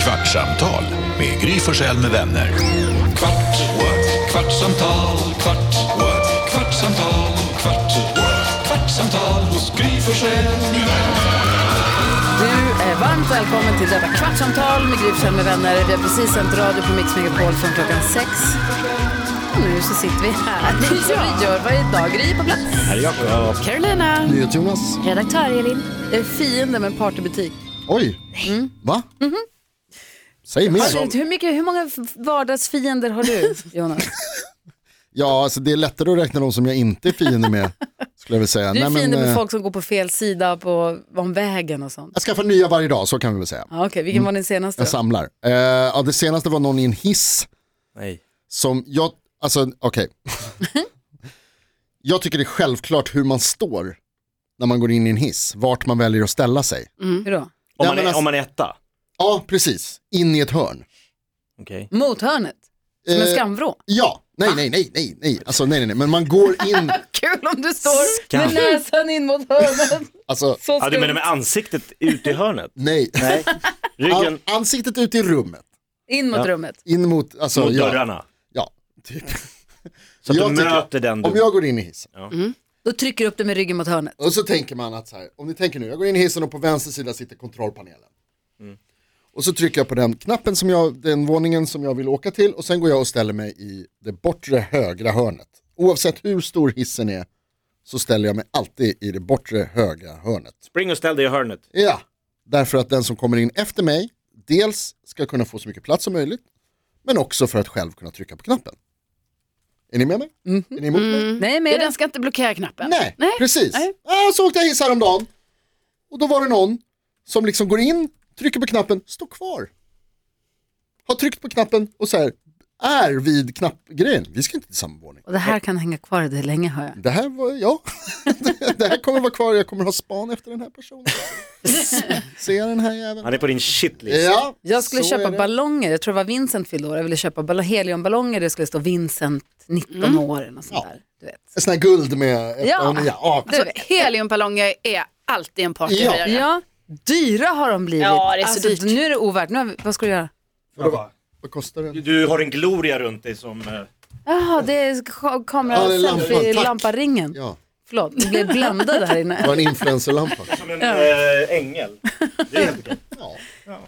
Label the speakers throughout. Speaker 1: Kvartsamtal med Gry Forssell med vänner. Kvart, what? kvartsamtal, kvart, what? kvartsamtal, kvart, what? kvartsamtal hos Gry Forssell med vänner.
Speaker 2: Du är varmt välkommen till detta kvartsamtal med Gryfsjön med vänner. Vi har precis sänt radio på Mix Megapol från klockan sex. Och nu så sitter vi här. Det är som vi gör varje dag. Gry på plats.
Speaker 3: Här är Jakob.
Speaker 2: Carolina.
Speaker 4: Jonas.
Speaker 2: Redaktör Elin. Jag är fiende med en partybutik.
Speaker 4: Oj,
Speaker 2: Mm.
Speaker 4: va?
Speaker 2: Mm-hmm.
Speaker 4: Säg mer.
Speaker 2: Har du, hur, mycket, hur många vardagsfiender har du, Jonas?
Speaker 4: Ja, alltså det är lättare att räkna de som jag inte är fiende med. skulle jag vilja säga.
Speaker 2: Du är
Speaker 4: Nej,
Speaker 2: fiende
Speaker 4: men,
Speaker 2: med
Speaker 4: eh,
Speaker 2: folk som går på fel sida på, om vägen och sånt.
Speaker 4: Jag skaffar nya varje dag, så kan vi väl säga.
Speaker 2: Ja, Okej,
Speaker 3: Mm.
Speaker 2: vilken var din senaste?
Speaker 4: Jag
Speaker 2: då?
Speaker 4: samlar. Eh, ja, det senaste var någon i en hiss
Speaker 3: Nej.
Speaker 4: som jag, alltså okej.
Speaker 2: Mm-hmm.
Speaker 4: jag tycker det är självklart hur man står när man går in i en hiss, vart man väljer att ställa sig.
Speaker 2: Mm. Hur då?
Speaker 3: Om,
Speaker 4: Ja,
Speaker 3: man
Speaker 4: men
Speaker 3: är,
Speaker 4: alltså-
Speaker 3: om man är etta?
Speaker 4: Ja, precis. In i ett hörn.
Speaker 3: Okej.
Speaker 2: Mot hörnet? Som en Ah.
Speaker 4: Eh,
Speaker 2: skamvrå?
Speaker 4: Ja, nej, nej, nej, nej, nej, alltså nej, nej, nej, men man går in,
Speaker 2: Kul om du står med
Speaker 3: Skam.
Speaker 2: näsan in mot hörnet.
Speaker 4: alltså
Speaker 2: Så
Speaker 3: Ja, du menar
Speaker 2: skumt.
Speaker 3: med ansiktet ut i hörnet?
Speaker 4: nej.
Speaker 3: Nej.
Speaker 4: An-
Speaker 3: Ryggen
Speaker 4: ansiktet ut i rummet,
Speaker 2: In mot
Speaker 3: Ja.
Speaker 2: rummet.
Speaker 4: in mot, alltså,
Speaker 3: mot
Speaker 4: ja.
Speaker 3: dörrarna.
Speaker 4: Ja, typ.
Speaker 3: Så att
Speaker 4: Jag
Speaker 3: du
Speaker 4: tycker-
Speaker 3: möter den
Speaker 4: Om
Speaker 3: du...
Speaker 4: jag går in i hissen,
Speaker 2: Då trycker du upp det med ryggen mot hörnet.
Speaker 4: och så tänker man att så här, om ni tänker nu, jag går in i hissen och på vänster sida sitter kontrollpanelen.
Speaker 3: Mm.
Speaker 4: Och så trycker jag på den knappen som jag, den våningen som jag vill åka till och sen går jag och ställer mig i det bortre högra hörnet. Oavsett hur stor hissen är så ställer jag mig alltid i det bortre högra hörnet.
Speaker 3: Spring och ställ dig i hörnet.
Speaker 4: Ja, därför att den som kommer in efter mig, dels ska kunna få så mycket plats som möjligt, men också för att själv kunna trycka på knappen. Är ni med mig? Är ni emot mig?
Speaker 2: Mm. Nej, men den ska inte blockera knappen.
Speaker 4: Mhm. Mm. Nej, precis. Ah, så åkte jag hiss häromdagen. Och då var det någon som liksom går in, trycker på knappen, står kvar. Har tryckt på knappen och så här, är vid knappgrejen. Vi ska inte till samma våning.
Speaker 2: Och det här kan hänga kvar i dig länge, hör jag.
Speaker 4: Det här var, ja. det här kommer vara kvar, jag kommer ha span efter den här personen. Ser jag den här jäveln?
Speaker 3: Han är på din shitlist.
Speaker 4: Ja,
Speaker 2: Jag skulle
Speaker 4: så
Speaker 2: köpa
Speaker 4: är det.
Speaker 2: ballonger, jag tror det var Vincent fyllde år, jag ville köpa ball- heliumballonger, det skulle stå Vincent 19
Speaker 4: Mm.
Speaker 2: år eller något sånt där. Du vet.
Speaker 4: En sån här guld med
Speaker 2: Ja.
Speaker 4: ja. Ja,
Speaker 2: Alltså,
Speaker 5: Du, heliumballonger är alltid en
Speaker 4: Ja.
Speaker 5: partyhöjare.
Speaker 2: Ja, dyra har de blivit. Alltså,
Speaker 5: Ja, det är så dyrt.
Speaker 2: Nu är det ovärt, nu har vi, vad ska du göra?
Speaker 4: Vad kostar den?
Speaker 3: Du har en gloria runt dig som... eh,
Speaker 2: Jaha, det är ka- kamera,
Speaker 4: Ja, det är lampan,
Speaker 2: selfie,
Speaker 4: tack.
Speaker 2: lamparingen.
Speaker 4: Ja,
Speaker 2: Förlåt, vi blev bländade här
Speaker 4: det
Speaker 2: inne.
Speaker 4: var en influencerlampa.
Speaker 3: Som en eh, ängel. Det är helt okej.
Speaker 4: Ja.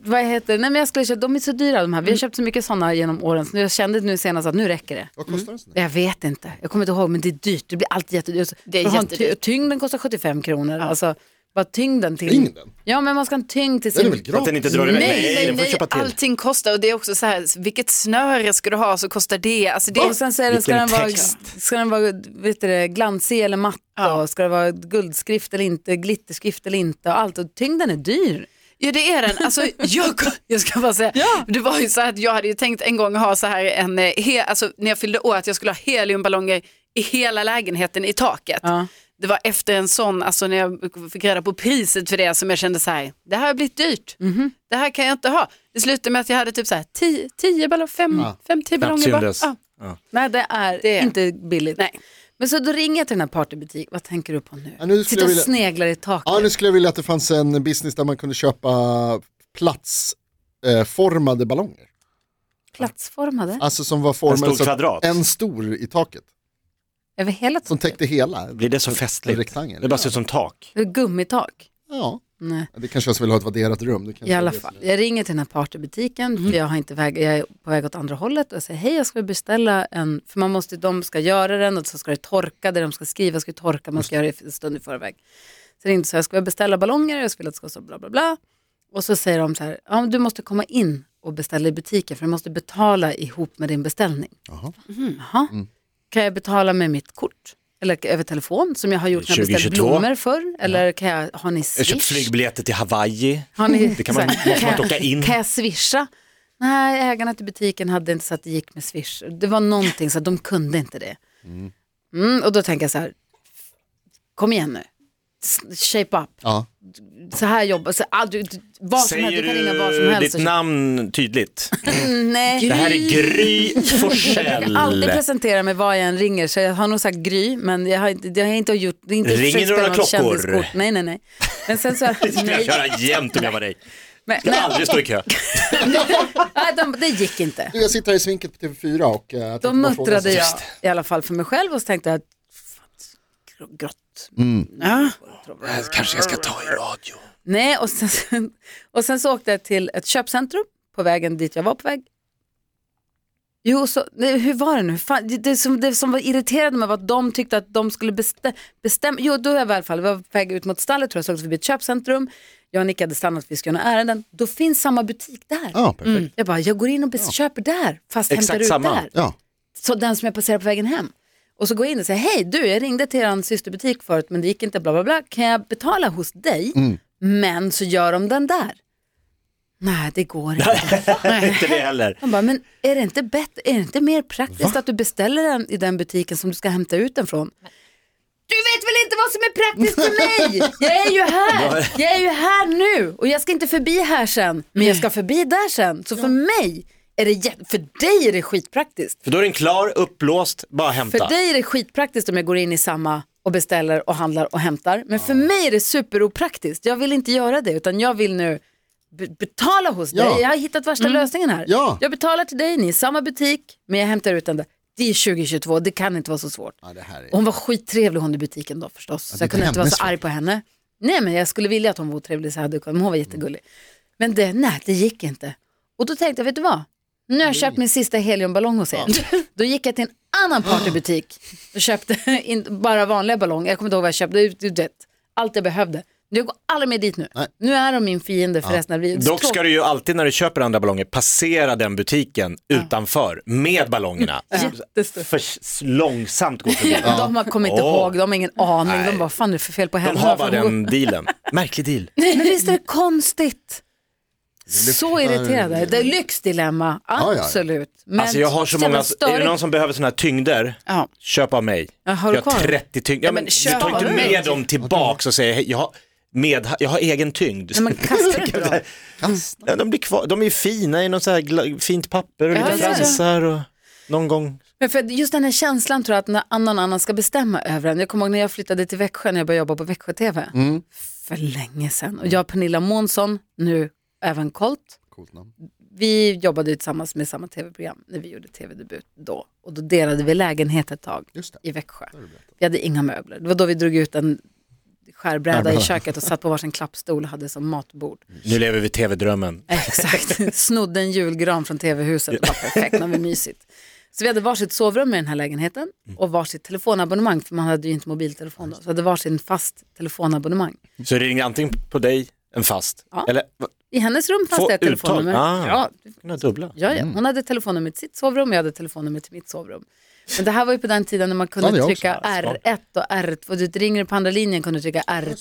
Speaker 2: vad heter det? Nej, men jag skulle köpa, de är så dyra de här,
Speaker 4: Mm.
Speaker 2: vi har köpt så mycket sådana genom åren, så nu- jag kände nu senast att nu räcker det.
Speaker 4: Vad kostar en sån där?
Speaker 2: Jag vet inte. Jag kommer inte ihåg, men det är dyrt. Det blir alltid jättedyrt.
Speaker 5: Det är
Speaker 2: För att ha en
Speaker 5: jättedyrt.
Speaker 2: Ty tyngden kostar 75 kronor. Alltså, vad tyngden till?
Speaker 4: Tyngden?
Speaker 2: Ja, men man ska ha en tyngd till
Speaker 4: Den är
Speaker 2: sin...
Speaker 4: väl
Speaker 3: Så att den
Speaker 4: gratis?
Speaker 3: inte drar iväg.
Speaker 5: Nej, nej,
Speaker 3: den får du
Speaker 5: nej,
Speaker 3: köpa till.
Speaker 5: allting kostar och det är också så här, vilket snöre ska du ha så kostar det. Alltså det
Speaker 2: Och sen så är det, ska,
Speaker 3: Vilken
Speaker 2: den vara,
Speaker 3: text.
Speaker 2: ska den vara vet du, det, glansig eller matt?
Speaker 5: Ja.
Speaker 2: Och ska det vara guldskrift eller inte, glitterskrift eller inte? Och allt. Och tyngden är dyr.
Speaker 5: ja det är den. Alltså, jag, jag ska bara säga, det var ju så här att jag hade ju tänkt en gång ha så här en, eh, he, alltså, när jag fyllde år att jag skulle ha heliumballonger i hela lägenheten i taket.
Speaker 2: Ja.
Speaker 5: Det var efter en sån, alltså när jag fick reda på priset för det som jag kände så här, det här har blivit dyrt. Det här kan jag inte ha. Det slutade med att jag hade typ så här 10 tio ballonger, fem, fem, tio ballonger bara.
Speaker 3: syndes.
Speaker 5: Ja.
Speaker 2: Nej, det är
Speaker 5: Det-
Speaker 2: inte billigt.
Speaker 5: Nej.
Speaker 2: Men så då ringer jag till den här partybutik. Vad tänker du på nu?
Speaker 4: Ja, nu skulle
Speaker 2: Sitter
Speaker 4: jag
Speaker 2: och
Speaker 4: vilja-
Speaker 2: sneglar i taket.
Speaker 4: Ja, nu skulle jag vilja att det fanns en business där man kunde köpa platsformade eh, formade ballonger.
Speaker 2: Platsformade.
Speaker 4: Alltså som var formade
Speaker 3: En stor
Speaker 4: så att-
Speaker 3: kvadrat.
Speaker 4: en stor i taket.
Speaker 2: Över hela
Speaker 4: Som
Speaker 2: taket.
Speaker 4: täckte hela.
Speaker 3: Blir det så
Speaker 4: En
Speaker 3: festligt?
Speaker 4: rektangel.
Speaker 3: Det bara ser ut som tak.
Speaker 2: Gummitak.
Speaker 4: Ja,
Speaker 2: Nej.
Speaker 4: det kanske jag skulle vilja ha ett värderat rum. Det kanske
Speaker 2: I alla
Speaker 4: är det som Mhm.
Speaker 2: fall, jag ringer till den här partybutiken, för jag, har inte väg, jag är på väg åt andra hållet och jag säger hej, jag ska beställa en, för man måste, de ska göra den och så ska det torka, det de ska skriva ska ju torka, man ska göra det en stund i förväg. Så jag ringde så jag ska beställa ballonger, jag skulle att det ska stå bla bla bla. Och så säger de så här, ja, men du måste komma in och beställa i butiken för du måste betala ihop med din beställning.
Speaker 4: Jaha. Mm.
Speaker 2: Jaha. Kan jag betala med mitt kort? Eller över telefon som jag har gjort när jag beställt
Speaker 3: 2022?
Speaker 2: blommor förr? Eller kan jag, har ni
Speaker 3: Jag har
Speaker 2: swish?
Speaker 3: köpt flygbiljetter till Hawaii.
Speaker 2: Har ni,
Speaker 3: Det kan man,
Speaker 2: så här,
Speaker 3: måste man inte
Speaker 2: kan-
Speaker 3: åka in.
Speaker 2: Kan jag swisha? Nej, ägarna till butiken hade inte så att det gick med swish. Det var någonting så att de kunde inte det. Mm, och då tänker jag så här, kom igen nu. S- Shape up,
Speaker 4: Ja.
Speaker 2: så här jobbar, så, ah, du, du, vad som helst,
Speaker 3: Säger
Speaker 2: du kan ringa var som
Speaker 3: du
Speaker 2: helst.
Speaker 3: ditt
Speaker 2: och-
Speaker 3: namn tydligt?
Speaker 2: Nej,
Speaker 3: Det här är Gry
Speaker 2: jag kan alltid
Speaker 3: Forssell.
Speaker 2: presentera mig var jag än ringer, så jag har nog sagt Gry, men jag har inte, jag har inte gjort, det är inte
Speaker 3: Ringer
Speaker 2: försökt spela
Speaker 3: några
Speaker 2: något
Speaker 3: klockor?
Speaker 2: kändiskort. Nej, nej, nej. Men sen så,
Speaker 3: Det skulle jag
Speaker 2: nej.
Speaker 3: göra jämt om jag var dig.
Speaker 2: Men,
Speaker 3: Ska aldrig stå i kö.
Speaker 2: nej, de, det gick inte.
Speaker 4: Du, jag sitter här i svinket på TV4 och... eh, tänkte
Speaker 2: Då
Speaker 4: bara fråga en
Speaker 2: muttrade
Speaker 4: sak.
Speaker 2: jag i alla fall för mig själv och så tänkte jag att fan, grått.
Speaker 5: Ja.
Speaker 3: Kanske jag ska ta i radio.
Speaker 2: Nej, och sen, och sen så åkte jag till ett köpcentrum på vägen dit jag var på väg. Jo, så, nej, hur var det nu? Fan, det, det, som, det som var irriterande med var att de tyckte att de skulle bestä, bestämma. Jo, då är jag i alla fall, vi var på väg ut mot stallet, tror jag, så åkte vi förbi ett köpcentrum. Jag och Nick hade stannat, vi skulle göra några ärenden. Då finns samma butik där.
Speaker 4: Ja, perfekt.
Speaker 2: Jag bara, jag går in och bes- köper där, fast
Speaker 3: Exakt
Speaker 2: hämtar ut
Speaker 3: samma.
Speaker 2: där.
Speaker 4: Ja.
Speaker 2: Så den som jag passerar på vägen hem. Och så går jag in och säger, hej du, jag ringde till er systerbutik förut men det gick inte, bla bla bla. Kan jag betala hos dig? Men så gör de den där. Nej, det går inte.
Speaker 3: Inte det heller.
Speaker 2: De bara, men är det inte bättre, är det inte mer praktiskt att du beställer den i den butiken som du ska hämta ut den från? Du vet väl inte vad som är praktiskt för mig? Jag är ju här, jag är ju här nu och jag ska inte förbi här sen, men jag ska förbi där sen. Så för mig är det, jä- för dig är det skitpraktiskt.
Speaker 3: För då är den klar, uppblåst, bara
Speaker 2: För
Speaker 3: hämta.
Speaker 2: dig är det skitpraktiskt om jag går in i samma och beställer och handlar och hämtar. Men för mig är det superopraktiskt. Jag vill inte göra det utan jag vill nu be- betala hos
Speaker 4: Ja. Mm.
Speaker 2: dig. Jag har hittat värsta lösningen här.
Speaker 4: Ja.
Speaker 2: Jag betalar till dig, ni är i samma butik, men jag hämtar ut den där. Det är 2022, det kan inte vara så svårt.
Speaker 4: Ja, det här är...
Speaker 2: Och Hon var skittrevlig hon i butiken då förstås.
Speaker 4: det
Speaker 2: så jag
Speaker 4: är
Speaker 2: kunde inte vara
Speaker 4: hennes
Speaker 2: så arg på henne. Nej men jag skulle vilja att hon var otrevlig så hade jag kunnat, men hon var jättegullig. Men det, nej det gick inte. Och då tänkte jag, vet du vad? Nu har jag köpt min sista heliumballong hos er. Då gick jag till en annan partybutik och köpte in, bara vanliga ballonger. Jag kommer inte ihåg vad jag köpte, du vet, allt jag behövde. Jag går aldrig mer dit nu.
Speaker 4: Nej.
Speaker 2: Nu är de min fiende för resten av livet.
Speaker 3: Dock
Speaker 2: Tråkigt.
Speaker 3: ska du ju alltid när du köper andra ballonger passera den butiken utanför med ballongerna.
Speaker 2: Jättestort.
Speaker 3: För s- långsamt gå förbi.
Speaker 2: De har kommit inte
Speaker 3: Åh.
Speaker 2: ihåg, de har ingen aning. De bara, fan är det för fel på henne?
Speaker 3: De har bara den dealen. Märklig deal.
Speaker 2: Men visst är det konstigt? Så irriterande. Det är lyxdilemma,
Speaker 4: ja, ja.
Speaker 2: absolut. Men
Speaker 3: Alltså jag har så många, är det någon
Speaker 2: störigt.
Speaker 3: som behöver sådana här tyngder,
Speaker 5: Ja.
Speaker 3: köp av mig.
Speaker 2: Ja, har du
Speaker 3: jag
Speaker 2: kvar?
Speaker 3: 30 tyngder. Ja,
Speaker 5: men
Speaker 3: men, du
Speaker 5: köp
Speaker 3: tar
Speaker 5: av
Speaker 3: inte
Speaker 5: mig.
Speaker 3: med dem tillbaks och säger, "Hej, jag har, med, jag har egen tyngd.
Speaker 2: Nej, men kastar inte dem.
Speaker 3: Ja, de, blir kvar, de är fina i något så här gla- fint papper och
Speaker 5: Ja,
Speaker 3: lite
Speaker 5: ja, ja.
Speaker 3: fransar och någon gång.
Speaker 2: Men för just den här känslan tror jag att när någon annan ska bestämma över en. Jag kommer ihåg när jag flyttade till Växjö när jag började jobba på Växjö TV.
Speaker 4: Mm.
Speaker 2: För länge sedan. Och jag och Pernilla Månsson, nu även Colt,
Speaker 4: Coolt namn.
Speaker 2: vi jobbade ju tillsammans med samma tv-program när vi gjorde tv-debut då. Och då delade vi lägenhet ett tag
Speaker 4: Just det.
Speaker 2: i Växjö. Vi hade inga möbler. Det var då vi drog ut en skärbräda i köket och satt på varsin klappstol och hade som matbord.
Speaker 3: Nu lever vi tv-drömmen.
Speaker 2: Exakt, snodde en julgran från tv-huset. Det var perfekt, det var mysigt. Så vi hade varsitt sovrum i den här lägenheten och varsitt telefonabonnemang, för man hade ju inte mobiltelefon då. Så hade varsin fast telefonabonnemang.
Speaker 3: Så det ringer antingen på dig, en fast,
Speaker 2: Ja.
Speaker 3: eller vad-
Speaker 2: I hennes rum fanns
Speaker 3: Få
Speaker 2: det ett
Speaker 3: uttag.
Speaker 2: telefonnummer.
Speaker 3: Ah.
Speaker 2: Ja,
Speaker 3: kunna dubbla.
Speaker 2: ja,
Speaker 4: Mm.
Speaker 2: ja. Hon hade telefonnummer till sitt sovrum och jag hade telefonnummer till mitt sovrum. Men det här var ju på den tiden när man
Speaker 4: Ja,
Speaker 2: kunde
Speaker 4: det är också
Speaker 2: trycka R1 och R2. Du ringer på andra linjen kunde du trycka R2. Och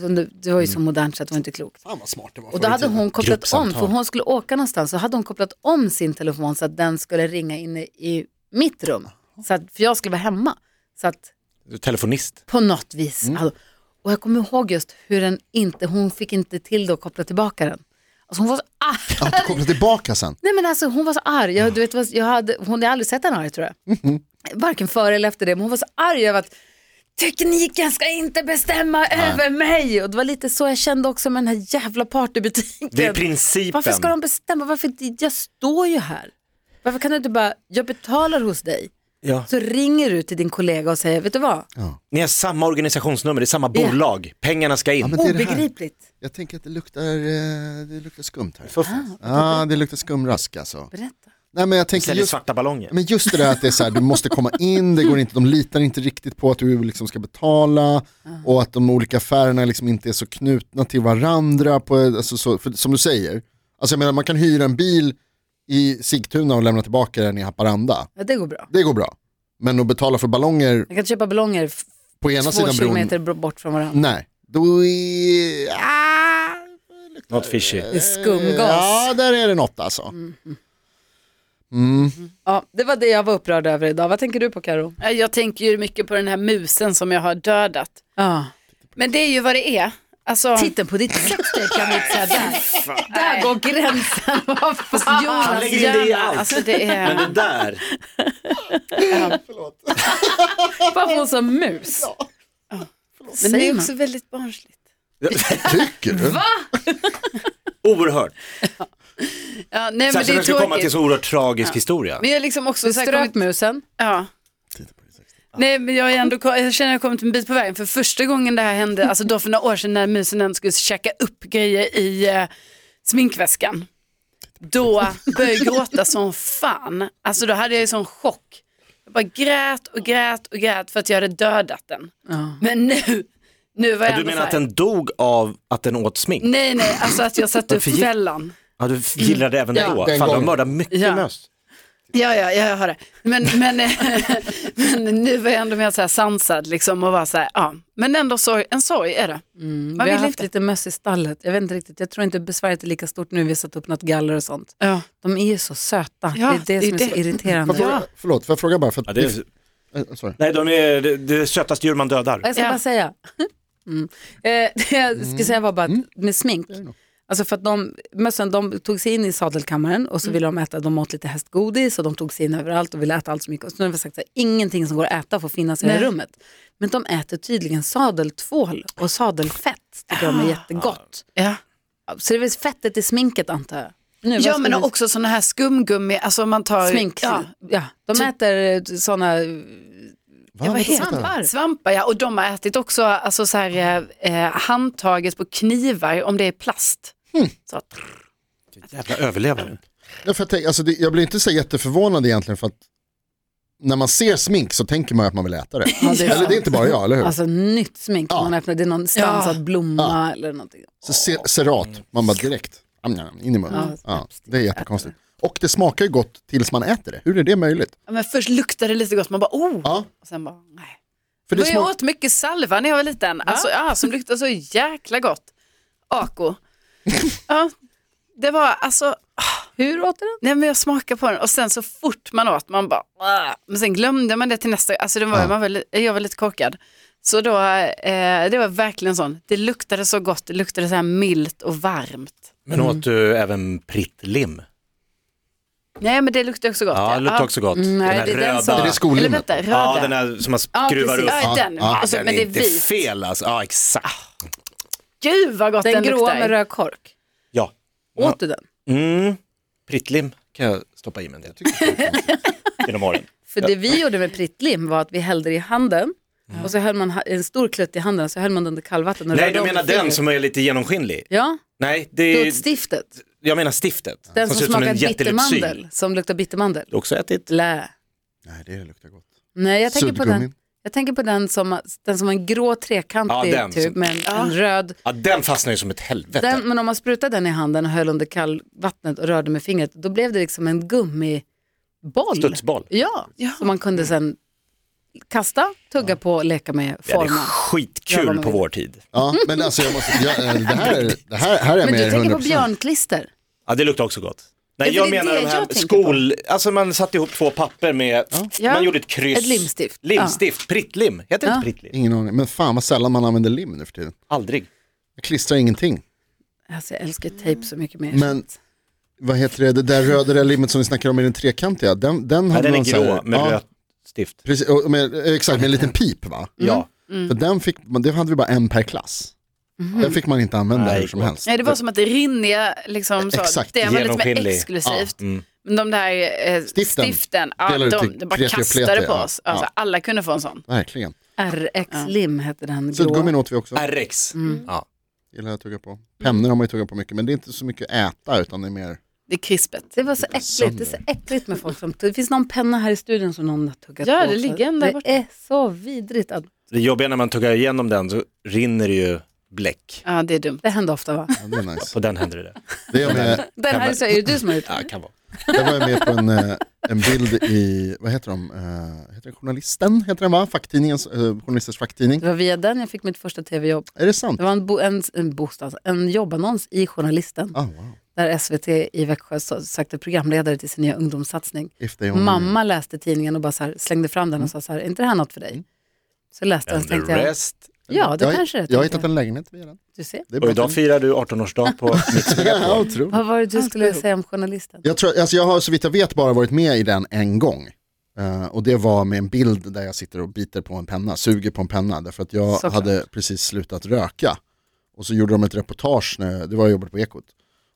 Speaker 2: så- Det var ju så modernt så att det var inte klokt.
Speaker 4: Mm. Fan vad smart det var
Speaker 2: Och
Speaker 4: förr
Speaker 2: då
Speaker 4: i
Speaker 2: hade
Speaker 4: tiden.
Speaker 2: hon kopplat om,
Speaker 3: Gruppsamtal.
Speaker 2: för hon skulle åka någonstans, så hade hon kopplat om sin telefon så att den skulle ringa in i- i mitt rum. Så att, för jag skulle vara hemma. Så att
Speaker 3: Telefonist.
Speaker 2: på något vis.
Speaker 4: Mm.
Speaker 2: Alltså, och jag kommer ihåg just hur den inte, hon fick inte till det att koppla tillbaka den. Alltså hon var så arg.
Speaker 4: Att du kommer tillbaka sen.
Speaker 2: Nej men alltså hon var så arg. Jag, du vet, vad- jag hade, hon hade aldrig sett henne arg tror jag.
Speaker 4: Mhm.
Speaker 2: Varken före eller efter det. Men hon var så arg över att tekniken ska inte bestämma över mig. Och det var lite så jag kände också med den här jävla partybutiken.
Speaker 3: Det är principen.
Speaker 2: Varför ska de bestämma? Varför, jag står ju här. Varför kan du inte bara, jag betalar hos dig.
Speaker 3: Ja.
Speaker 2: Så ringer du till din kollega och säger, vet du vad?
Speaker 3: Ni har samma organisationsnummer, det är samma bolag, pengarna ska in.
Speaker 4: men det är det här.
Speaker 2: Obegripligt.
Speaker 4: Jag tänker att det luktar, eh, det luktar skumt här. Ja, det luktar skumrask alltså.
Speaker 2: Berätta.
Speaker 4: Nej, men jag tänker
Speaker 3: Säljer
Speaker 4: just,
Speaker 3: svarta ballonger.
Speaker 4: men just det där att det är så här, du måste komma in, det går inte, de litar inte riktigt på att du liksom ska betala och att de olika affärerna liksom inte är så knutna till varandra. På, alltså, så, för, som du säger, alltså, jag menar, man kan hyra en bil i Sigtuna och lämna tillbaka den i Haparanda.
Speaker 2: Ja, det går bra.
Speaker 4: Det går bra. Men att betala för ballonger
Speaker 2: Jag kan köpa ballonger f-
Speaker 4: på ena
Speaker 2: två
Speaker 4: sidan bron,
Speaker 2: kilometer bro- bort från varandra.
Speaker 4: nej. Då är... Ah!
Speaker 3: Not fishy.
Speaker 2: Det är skumgas.
Speaker 4: Ja, där är det något alltså.
Speaker 2: Mm. Ja, det var det jag var upprörd över idag. Vad tänker du på Karo?
Speaker 5: Jag tänker ju mycket på den här musen som jag har dödat.
Speaker 2: Ja.
Speaker 5: Men det är ju vad det är. Alltså,
Speaker 2: Titeln på ditt sextape kan vi inte säga där. Där går gränsen. Vad
Speaker 5: Alltså,
Speaker 2: fan?
Speaker 5: Jonas
Speaker 3: lägger in det i
Speaker 5: hjärna,
Speaker 3: allt.
Speaker 5: alltså det är...
Speaker 3: Men det där,
Speaker 2: Varför hon som mus?
Speaker 5: Men det
Speaker 2: Säger
Speaker 5: är
Speaker 2: man.
Speaker 5: också väldigt barnsligt.
Speaker 4: Tycker du?
Speaker 3: Oerhört.
Speaker 5: Ja, nej, men
Speaker 3: Särskilt
Speaker 5: det
Speaker 3: när
Speaker 5: är
Speaker 3: det skulle komma till
Speaker 5: tråkigt.
Speaker 3: så oerhört tragisk historia.
Speaker 5: Men jag är liksom också
Speaker 2: Du
Speaker 5: så här
Speaker 2: ströp
Speaker 5: kommit-
Speaker 2: musen.
Speaker 5: Ja. Nej men jag, är ändå, jag känner att jag kommit en bit på vägen för första gången det här hände, alltså då för några år sedan när musen ändå skulle checka upp grejer i eh, sminkväskan. Då började jag gråta som fan, alltså då hade jag ju sån chock. Jag bara grät och grät och grät för att jag hade dödat den. Men nu, nu var jag
Speaker 3: Ja, du
Speaker 5: ändå
Speaker 3: menar att
Speaker 5: så här,
Speaker 3: den dog av att den åt smink?
Speaker 5: Nej nej, alltså att jag satte upp
Speaker 3: Varför gick-
Speaker 5: fällan.
Speaker 3: Ja, du f- gillade även
Speaker 5: Mm. Ja,
Speaker 3: det då?
Speaker 4: den
Speaker 3: Fan, du har
Speaker 4: gången.
Speaker 3: mördat mycket
Speaker 5: Ja.
Speaker 3: möss.
Speaker 5: Ja, ja, ja, jag har det. Men, men, eh, men nu var jag ändå mer så här sansad liksom och var så här, ja. Men ändå sorg, en sorg är det.
Speaker 2: Mm, Vi
Speaker 5: Man
Speaker 2: har
Speaker 5: vill
Speaker 2: haft
Speaker 5: inte.
Speaker 2: lite möss i stallet. Jag vet inte riktigt, jag tror inte besväret är lika stort nu. Vi har satt upp något galler och sånt.
Speaker 5: Ja.
Speaker 2: De är ju så söta.
Speaker 5: Ja,
Speaker 2: det är det
Speaker 5: det är
Speaker 2: som är så
Speaker 5: det.
Speaker 2: irriterande.
Speaker 4: Får jag fråga- Förlåt, får jag fråga bara? För att
Speaker 3: Ja, det är,
Speaker 4: Eh, sorry.
Speaker 3: nej, de är det, det är sötaste djur man dödar.
Speaker 2: Jag ska
Speaker 5: Ja.
Speaker 2: bara säga. Mm. Eh, det jag skulle säga var bara att med smink. Alltså för att de, mössen, de tog sig in i sadelkammaren
Speaker 5: Mm.
Speaker 2: och så ville de äta, de åt lite hästgodis och de tog sig in överallt och ville äta allt så mycket. Och så nu har vi sagt att ingenting som går att äta får finnas i det här
Speaker 5: Nej.
Speaker 2: rummet. Men de äter tydligen sadeltvål och sadelfett, tycker
Speaker 5: Ah.
Speaker 2: de är jättegott.
Speaker 5: Ja.
Speaker 2: Så det är väl fettet i sminket antar jag. Nu, vad
Speaker 5: ja,
Speaker 2: ska
Speaker 5: men
Speaker 2: vi-
Speaker 5: också sådana här skumgummi, alltså om man tar
Speaker 2: Smink,
Speaker 5: Ja.
Speaker 2: ja. De
Speaker 5: Typ-
Speaker 2: äter eh, sådana,
Speaker 4: Va,
Speaker 5: Vad
Speaker 4: vad
Speaker 5: heter
Speaker 4: heter det?
Speaker 5: svampar? Svampar ja, och de har ätit också alltså så här, eh, eh, handtaget på knivar om det är plast. Så,
Speaker 3: Jävla överlevare.
Speaker 4: Nej, för jag, tänker, alltså, det, jag blir inte så jätteförvånad egentligen för att när man ser smink så tänker man ju att man vill äta det.
Speaker 2: Ja, det är
Speaker 4: eller det är inte bara jag, eller hur?
Speaker 2: alltså nytt smink.
Speaker 4: Ja.
Speaker 2: Man öppnar, det är någon stansad blomma eller någonting.
Speaker 4: så se, serat, man bara direkt, am, am, in i munnen.
Speaker 2: Mm. Ja,
Speaker 4: Ja, det är jättekonstigt. Och det smakar ju gott tills man äter det. Hur är det möjligt?
Speaker 5: ja, men först luktar det lite gott, man bara oh,
Speaker 4: Ja,
Speaker 5: och sen bara nej.
Speaker 4: för det
Speaker 5: Men jag
Speaker 4: smak,
Speaker 5: åt mycket salva när jag var liten, alltså, ja, som luktade så jäkla gott. Ako. ja, det var alltså,
Speaker 2: Hur åt du den?
Speaker 5: nej men jag smakade på den och sen så fort man åt, man bara, "Åh." men sen glömde man det till nästa, alltså det var, man var, li- jag var lite korkad. Så då, eh, det var verkligen sån, det luktade så gott, det luktade så här milt och varmt.
Speaker 3: Men åt du även prittlim?
Speaker 5: Nej men det luktade också gott.
Speaker 3: Ja, det luktar också
Speaker 5: mm,
Speaker 3: gott.
Speaker 2: nej,
Speaker 3: den här
Speaker 2: det är den
Speaker 3: röda.
Speaker 2: som-
Speaker 4: är det
Speaker 5: Eller
Speaker 4: skollimmet?
Speaker 5: vänta, röda.
Speaker 3: Ja, den här som man
Speaker 5: Ja,
Speaker 3: skruvar
Speaker 5: precis.
Speaker 3: upp.
Speaker 5: Ja, den.
Speaker 4: Ja,
Speaker 5: och så,
Speaker 3: den
Speaker 5: men det är
Speaker 3: inte
Speaker 5: vit.
Speaker 3: fel alltså. Ja, exakt.
Speaker 5: Gud vad gott den,
Speaker 2: Den gråa
Speaker 5: luktar.
Speaker 2: med röd kork.
Speaker 3: Ja.
Speaker 2: Åt du den?
Speaker 3: Mm. Prittlim kan jag stoppa i mig en del genom åren.
Speaker 2: För det vi gjorde med prittlim var att vi hällde i handen
Speaker 3: Mm.
Speaker 2: och så höll man ha- en stor klutt i handen så höll man den under kallvatten. och
Speaker 3: Nej,
Speaker 2: rörde
Speaker 3: du
Speaker 2: om
Speaker 3: menar
Speaker 2: med fingret.
Speaker 3: den som är lite genomskinlig?
Speaker 2: Ja,
Speaker 3: Nej,
Speaker 2: du
Speaker 3: det
Speaker 2: åt stiftet.
Speaker 3: jag menar stiftet.
Speaker 2: Den som,
Speaker 3: ser ut
Speaker 2: smakar
Speaker 3: en jättelätt syl.
Speaker 2: bittermandel, som luktar bittermandel.
Speaker 3: Du har också ätit?
Speaker 2: Lä.
Speaker 4: Nej, det luktar gott.
Speaker 2: Nej, jag tänker, på den,
Speaker 4: Suddgummin.
Speaker 2: jag tänker på den som, den som har en grå trekantig
Speaker 3: Ja, den
Speaker 2: tub
Speaker 3: som-
Speaker 2: med en, en röd
Speaker 3: Ja, den fastnar ju som ett helvete.
Speaker 2: Den, men om man sprutade den i handen och höll under kallvattnet och rörde med fingret, då blev det liksom en gummiboll.
Speaker 3: Studsboll.
Speaker 2: Ja, som man kunde sen kasta, tugga på, leka med,
Speaker 3: Ja, det är
Speaker 2: forma. Gör vad
Speaker 3: skitkul
Speaker 2: man
Speaker 3: på
Speaker 2: vill.
Speaker 3: vår tid.
Speaker 4: Ja, men alltså jag måste, jag, eh, det här, det här, här är jag
Speaker 2: men du
Speaker 4: med
Speaker 2: tänker
Speaker 4: 100%.
Speaker 2: på björnklister?
Speaker 3: Ja, det luktar också gott.
Speaker 2: Ja,
Speaker 3: Nej,
Speaker 2: för
Speaker 3: jag
Speaker 2: det är
Speaker 3: menar
Speaker 2: det
Speaker 3: de
Speaker 2: jag
Speaker 3: här
Speaker 2: tänker
Speaker 3: skol... Alltså man satte ihop två papper med...
Speaker 2: Ja.
Speaker 3: Man gjorde ett kryss.
Speaker 2: Ett limstift.
Speaker 3: Limstift. Prittlim. Heter det
Speaker 2: Ja.
Speaker 3: inte prittlim?
Speaker 4: Ingen aning, men fan vad sällan man använder lim nu för tiden.
Speaker 3: Aldrig.
Speaker 4: Jag klistrar ingenting.
Speaker 2: Alltså, jag älskar tejp så mycket mer.
Speaker 4: Men vad heter det, det där röda där limmet som vi snackade om i den trekantiga, den, den
Speaker 3: Nej,
Speaker 4: hade
Speaker 3: den är
Speaker 4: man så här-
Speaker 3: grå med
Speaker 4: ja,
Speaker 3: rött stift.
Speaker 2: Mm.
Speaker 4: Precis, och med, exakt, med en liten pip va?
Speaker 3: Ja.
Speaker 4: För den fick, man- det hade vi bara en per klass.
Speaker 2: Mm.
Speaker 4: Den fick man inte använda
Speaker 3: Nej,
Speaker 4: hur som
Speaker 3: gott.
Speaker 4: helst.
Speaker 5: Nej, det var som att det rinniga, liksom, så,
Speaker 4: Exakt.
Speaker 5: det var lite mer
Speaker 3: Genomskinlig. mm.
Speaker 5: exklusivt. Men de där eh,
Speaker 4: Stiften.
Speaker 5: stiften, ja,
Speaker 4: Delade
Speaker 5: de,
Speaker 4: till
Speaker 5: de bara
Speaker 4: kreti och
Speaker 5: kastade
Speaker 4: pleti,
Speaker 5: på
Speaker 4: ja.
Speaker 5: oss. Alltså,
Speaker 4: Ja.
Speaker 5: Alla kunde få en sån.
Speaker 4: Verkligen.
Speaker 2: RX-lim hette den grå.
Speaker 4: Suddgummin åt vi
Speaker 2: Mm.
Speaker 4: också,
Speaker 3: RX. Ja.
Speaker 4: gillar jag att tugga på. Pennor har man ju tuggat på mycket, men det är inte så mycket äta utan det är mer,
Speaker 5: Det är krispet.
Speaker 2: Det var så äckligt, det är så äckligt med folk som... Det finns någon penna här i studion som någon har tuggat
Speaker 5: Ja,
Speaker 2: på.
Speaker 5: det
Speaker 2: också.
Speaker 5: ligger en där borta.
Speaker 2: Det är så vidrigt. Att,
Speaker 3: Det jobbiga när man tuggar igenom den så rinner det ju bläck.
Speaker 5: Ja, det är dumt.
Speaker 2: det händer ofta va?
Speaker 4: ja, det är nice.
Speaker 3: På den händer det där.
Speaker 4: Det är jag med,
Speaker 2: Den här är, så, är det du som har gjort
Speaker 3: Ja,
Speaker 2: den?
Speaker 3: kan vara.
Speaker 4: jag var med på en, eh, en bild i, vad heter de, Eh, heter den Journalisten, heter den va? Facktidningens, eh, journalisters facktidning.
Speaker 2: Det var via den jag fick mitt första tv-jobb.
Speaker 4: Är det sant?
Speaker 2: Det var en, bo, en, en, bostad, en jobbannons i Journalisten
Speaker 4: Ah, wow.
Speaker 2: där SVT i Växjö så- sökte programledare till sin nya ungdomssatsning.
Speaker 4: If they only-
Speaker 2: Mamma läste tidningen och bara så här, slängde fram den och sa så här, är inte det här något för dig? Så läste jag
Speaker 3: And
Speaker 2: och
Speaker 3: the
Speaker 2: tänkte jag,
Speaker 3: rest.
Speaker 2: ja det
Speaker 4: jag,
Speaker 2: kanske det är.
Speaker 4: Jag har
Speaker 2: tänkte
Speaker 4: hittat en lägenhet via den.
Speaker 2: Du ser.
Speaker 4: Det är
Speaker 3: Och
Speaker 4: bra.
Speaker 3: idag firar du 18-årsdag på mitt
Speaker 4: ja, otroligt.
Speaker 2: Vad var det du skulle säga om Journalisten?
Speaker 4: Jag, tror, alltså jag har så vitt jag vet bara varit med i den en gång. Eh, och det var med en bild där jag sitter och biter på en penna, suger på en penna. Därför att jag
Speaker 2: Såklart.
Speaker 4: hade precis slutat röka. Och så gjorde de ett reportage, när, det var jag jobbade på Ekot.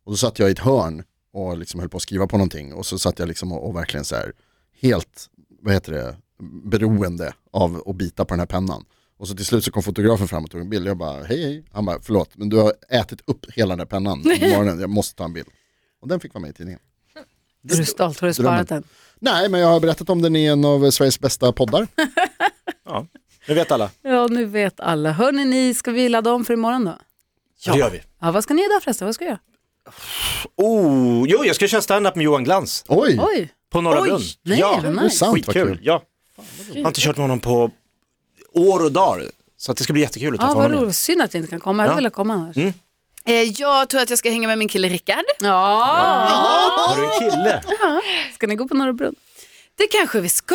Speaker 4: Och Och så satt jag i ett hörn och liksom höll på att skriva på någonting och så satt jag liksom och, och verkligen så här helt, vad heter det, beroende av att bita på den här pennan. Och så till slut så kom fotografen fram och tog en bild. Jag bara, hej hej. Han bara, förlåt, men du har ätit upp hela den här pennan på morgonen. Jag måste ta en bild. Och den fick vara med i tidningen.
Speaker 2: Är du stolt? Har du
Speaker 4: Drömmen.
Speaker 2: sparat den?
Speaker 4: Nej, men jag har berättat om den i en av Sveriges bästa poddar.
Speaker 3: Ja. Nu vet alla.
Speaker 2: Ja, nu vet alla. Hörni, ni, ska vi ladda om för imorgon då?
Speaker 3: Ja. Det gör vi.
Speaker 2: Ja, vad ska ni göra idag förresten? Vad ska jag göra?
Speaker 3: Oh, jo, jag ska köra stand-up med Johan Glans
Speaker 4: Oj,
Speaker 2: Oj,
Speaker 3: på Norra
Speaker 2: Oj,
Speaker 3: Brunn.
Speaker 2: nej,
Speaker 3: ja,
Speaker 2: vad nice.
Speaker 4: sant, vad
Speaker 3: skitkul.
Speaker 4: kul.
Speaker 3: Ja. Jag har inte kört med honom på år och dagar. Så att det ska bli jättekul att
Speaker 2: ja,
Speaker 3: träffa
Speaker 2: vad
Speaker 3: honom igen.
Speaker 2: roligt. Synd att jag inte kan komma. Jag hade
Speaker 3: Ja.
Speaker 2: velat komma annars.
Speaker 4: Mm.
Speaker 5: Eh, jag tror att jag ska hänga med min kille Rickard.
Speaker 2: Ja.
Speaker 3: Har du en kille?
Speaker 2: Ska ni gå på Norra Brunn?
Speaker 5: Det kanske vi ska.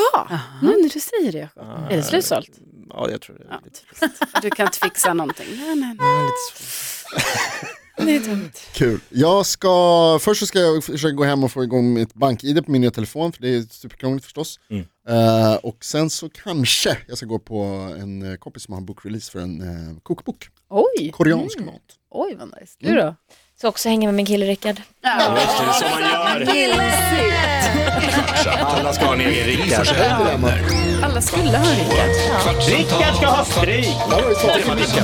Speaker 5: Nu när du säger det Jakob. Är det slutsålt?
Speaker 3: Ja, jag tror det. Är lite,
Speaker 5: Du kan inte fixa någonting. Nej, nej, nej.
Speaker 3: lite svårt.
Speaker 5: Det är dumt.
Speaker 4: Kul. Jag ska, först så ska jag försöka gå hem och få igång mitt bank-id på min nya telefon, för det är superkrångligt förstås. Eh, och sen så kanske jag ska gå på en eh, kompis som har en bokrelease för en eh, kokbok.
Speaker 5: Mm.
Speaker 2: Oj,
Speaker 4: Koreansk mat.
Speaker 2: oj vad nice. Du då?
Speaker 6: Så också hänga med min kille Rickard.
Speaker 3: Det är som man gör. Alla ska ha en egen
Speaker 1: Gry
Speaker 3: Rickard.
Speaker 1: Forssell med vänner.
Speaker 5: Alla skulle ha Rickard.
Speaker 1: Kvartsamtal,
Speaker 3: ska ha stryk!
Speaker 4: Det var ju svårt.
Speaker 1: kvartsamtal,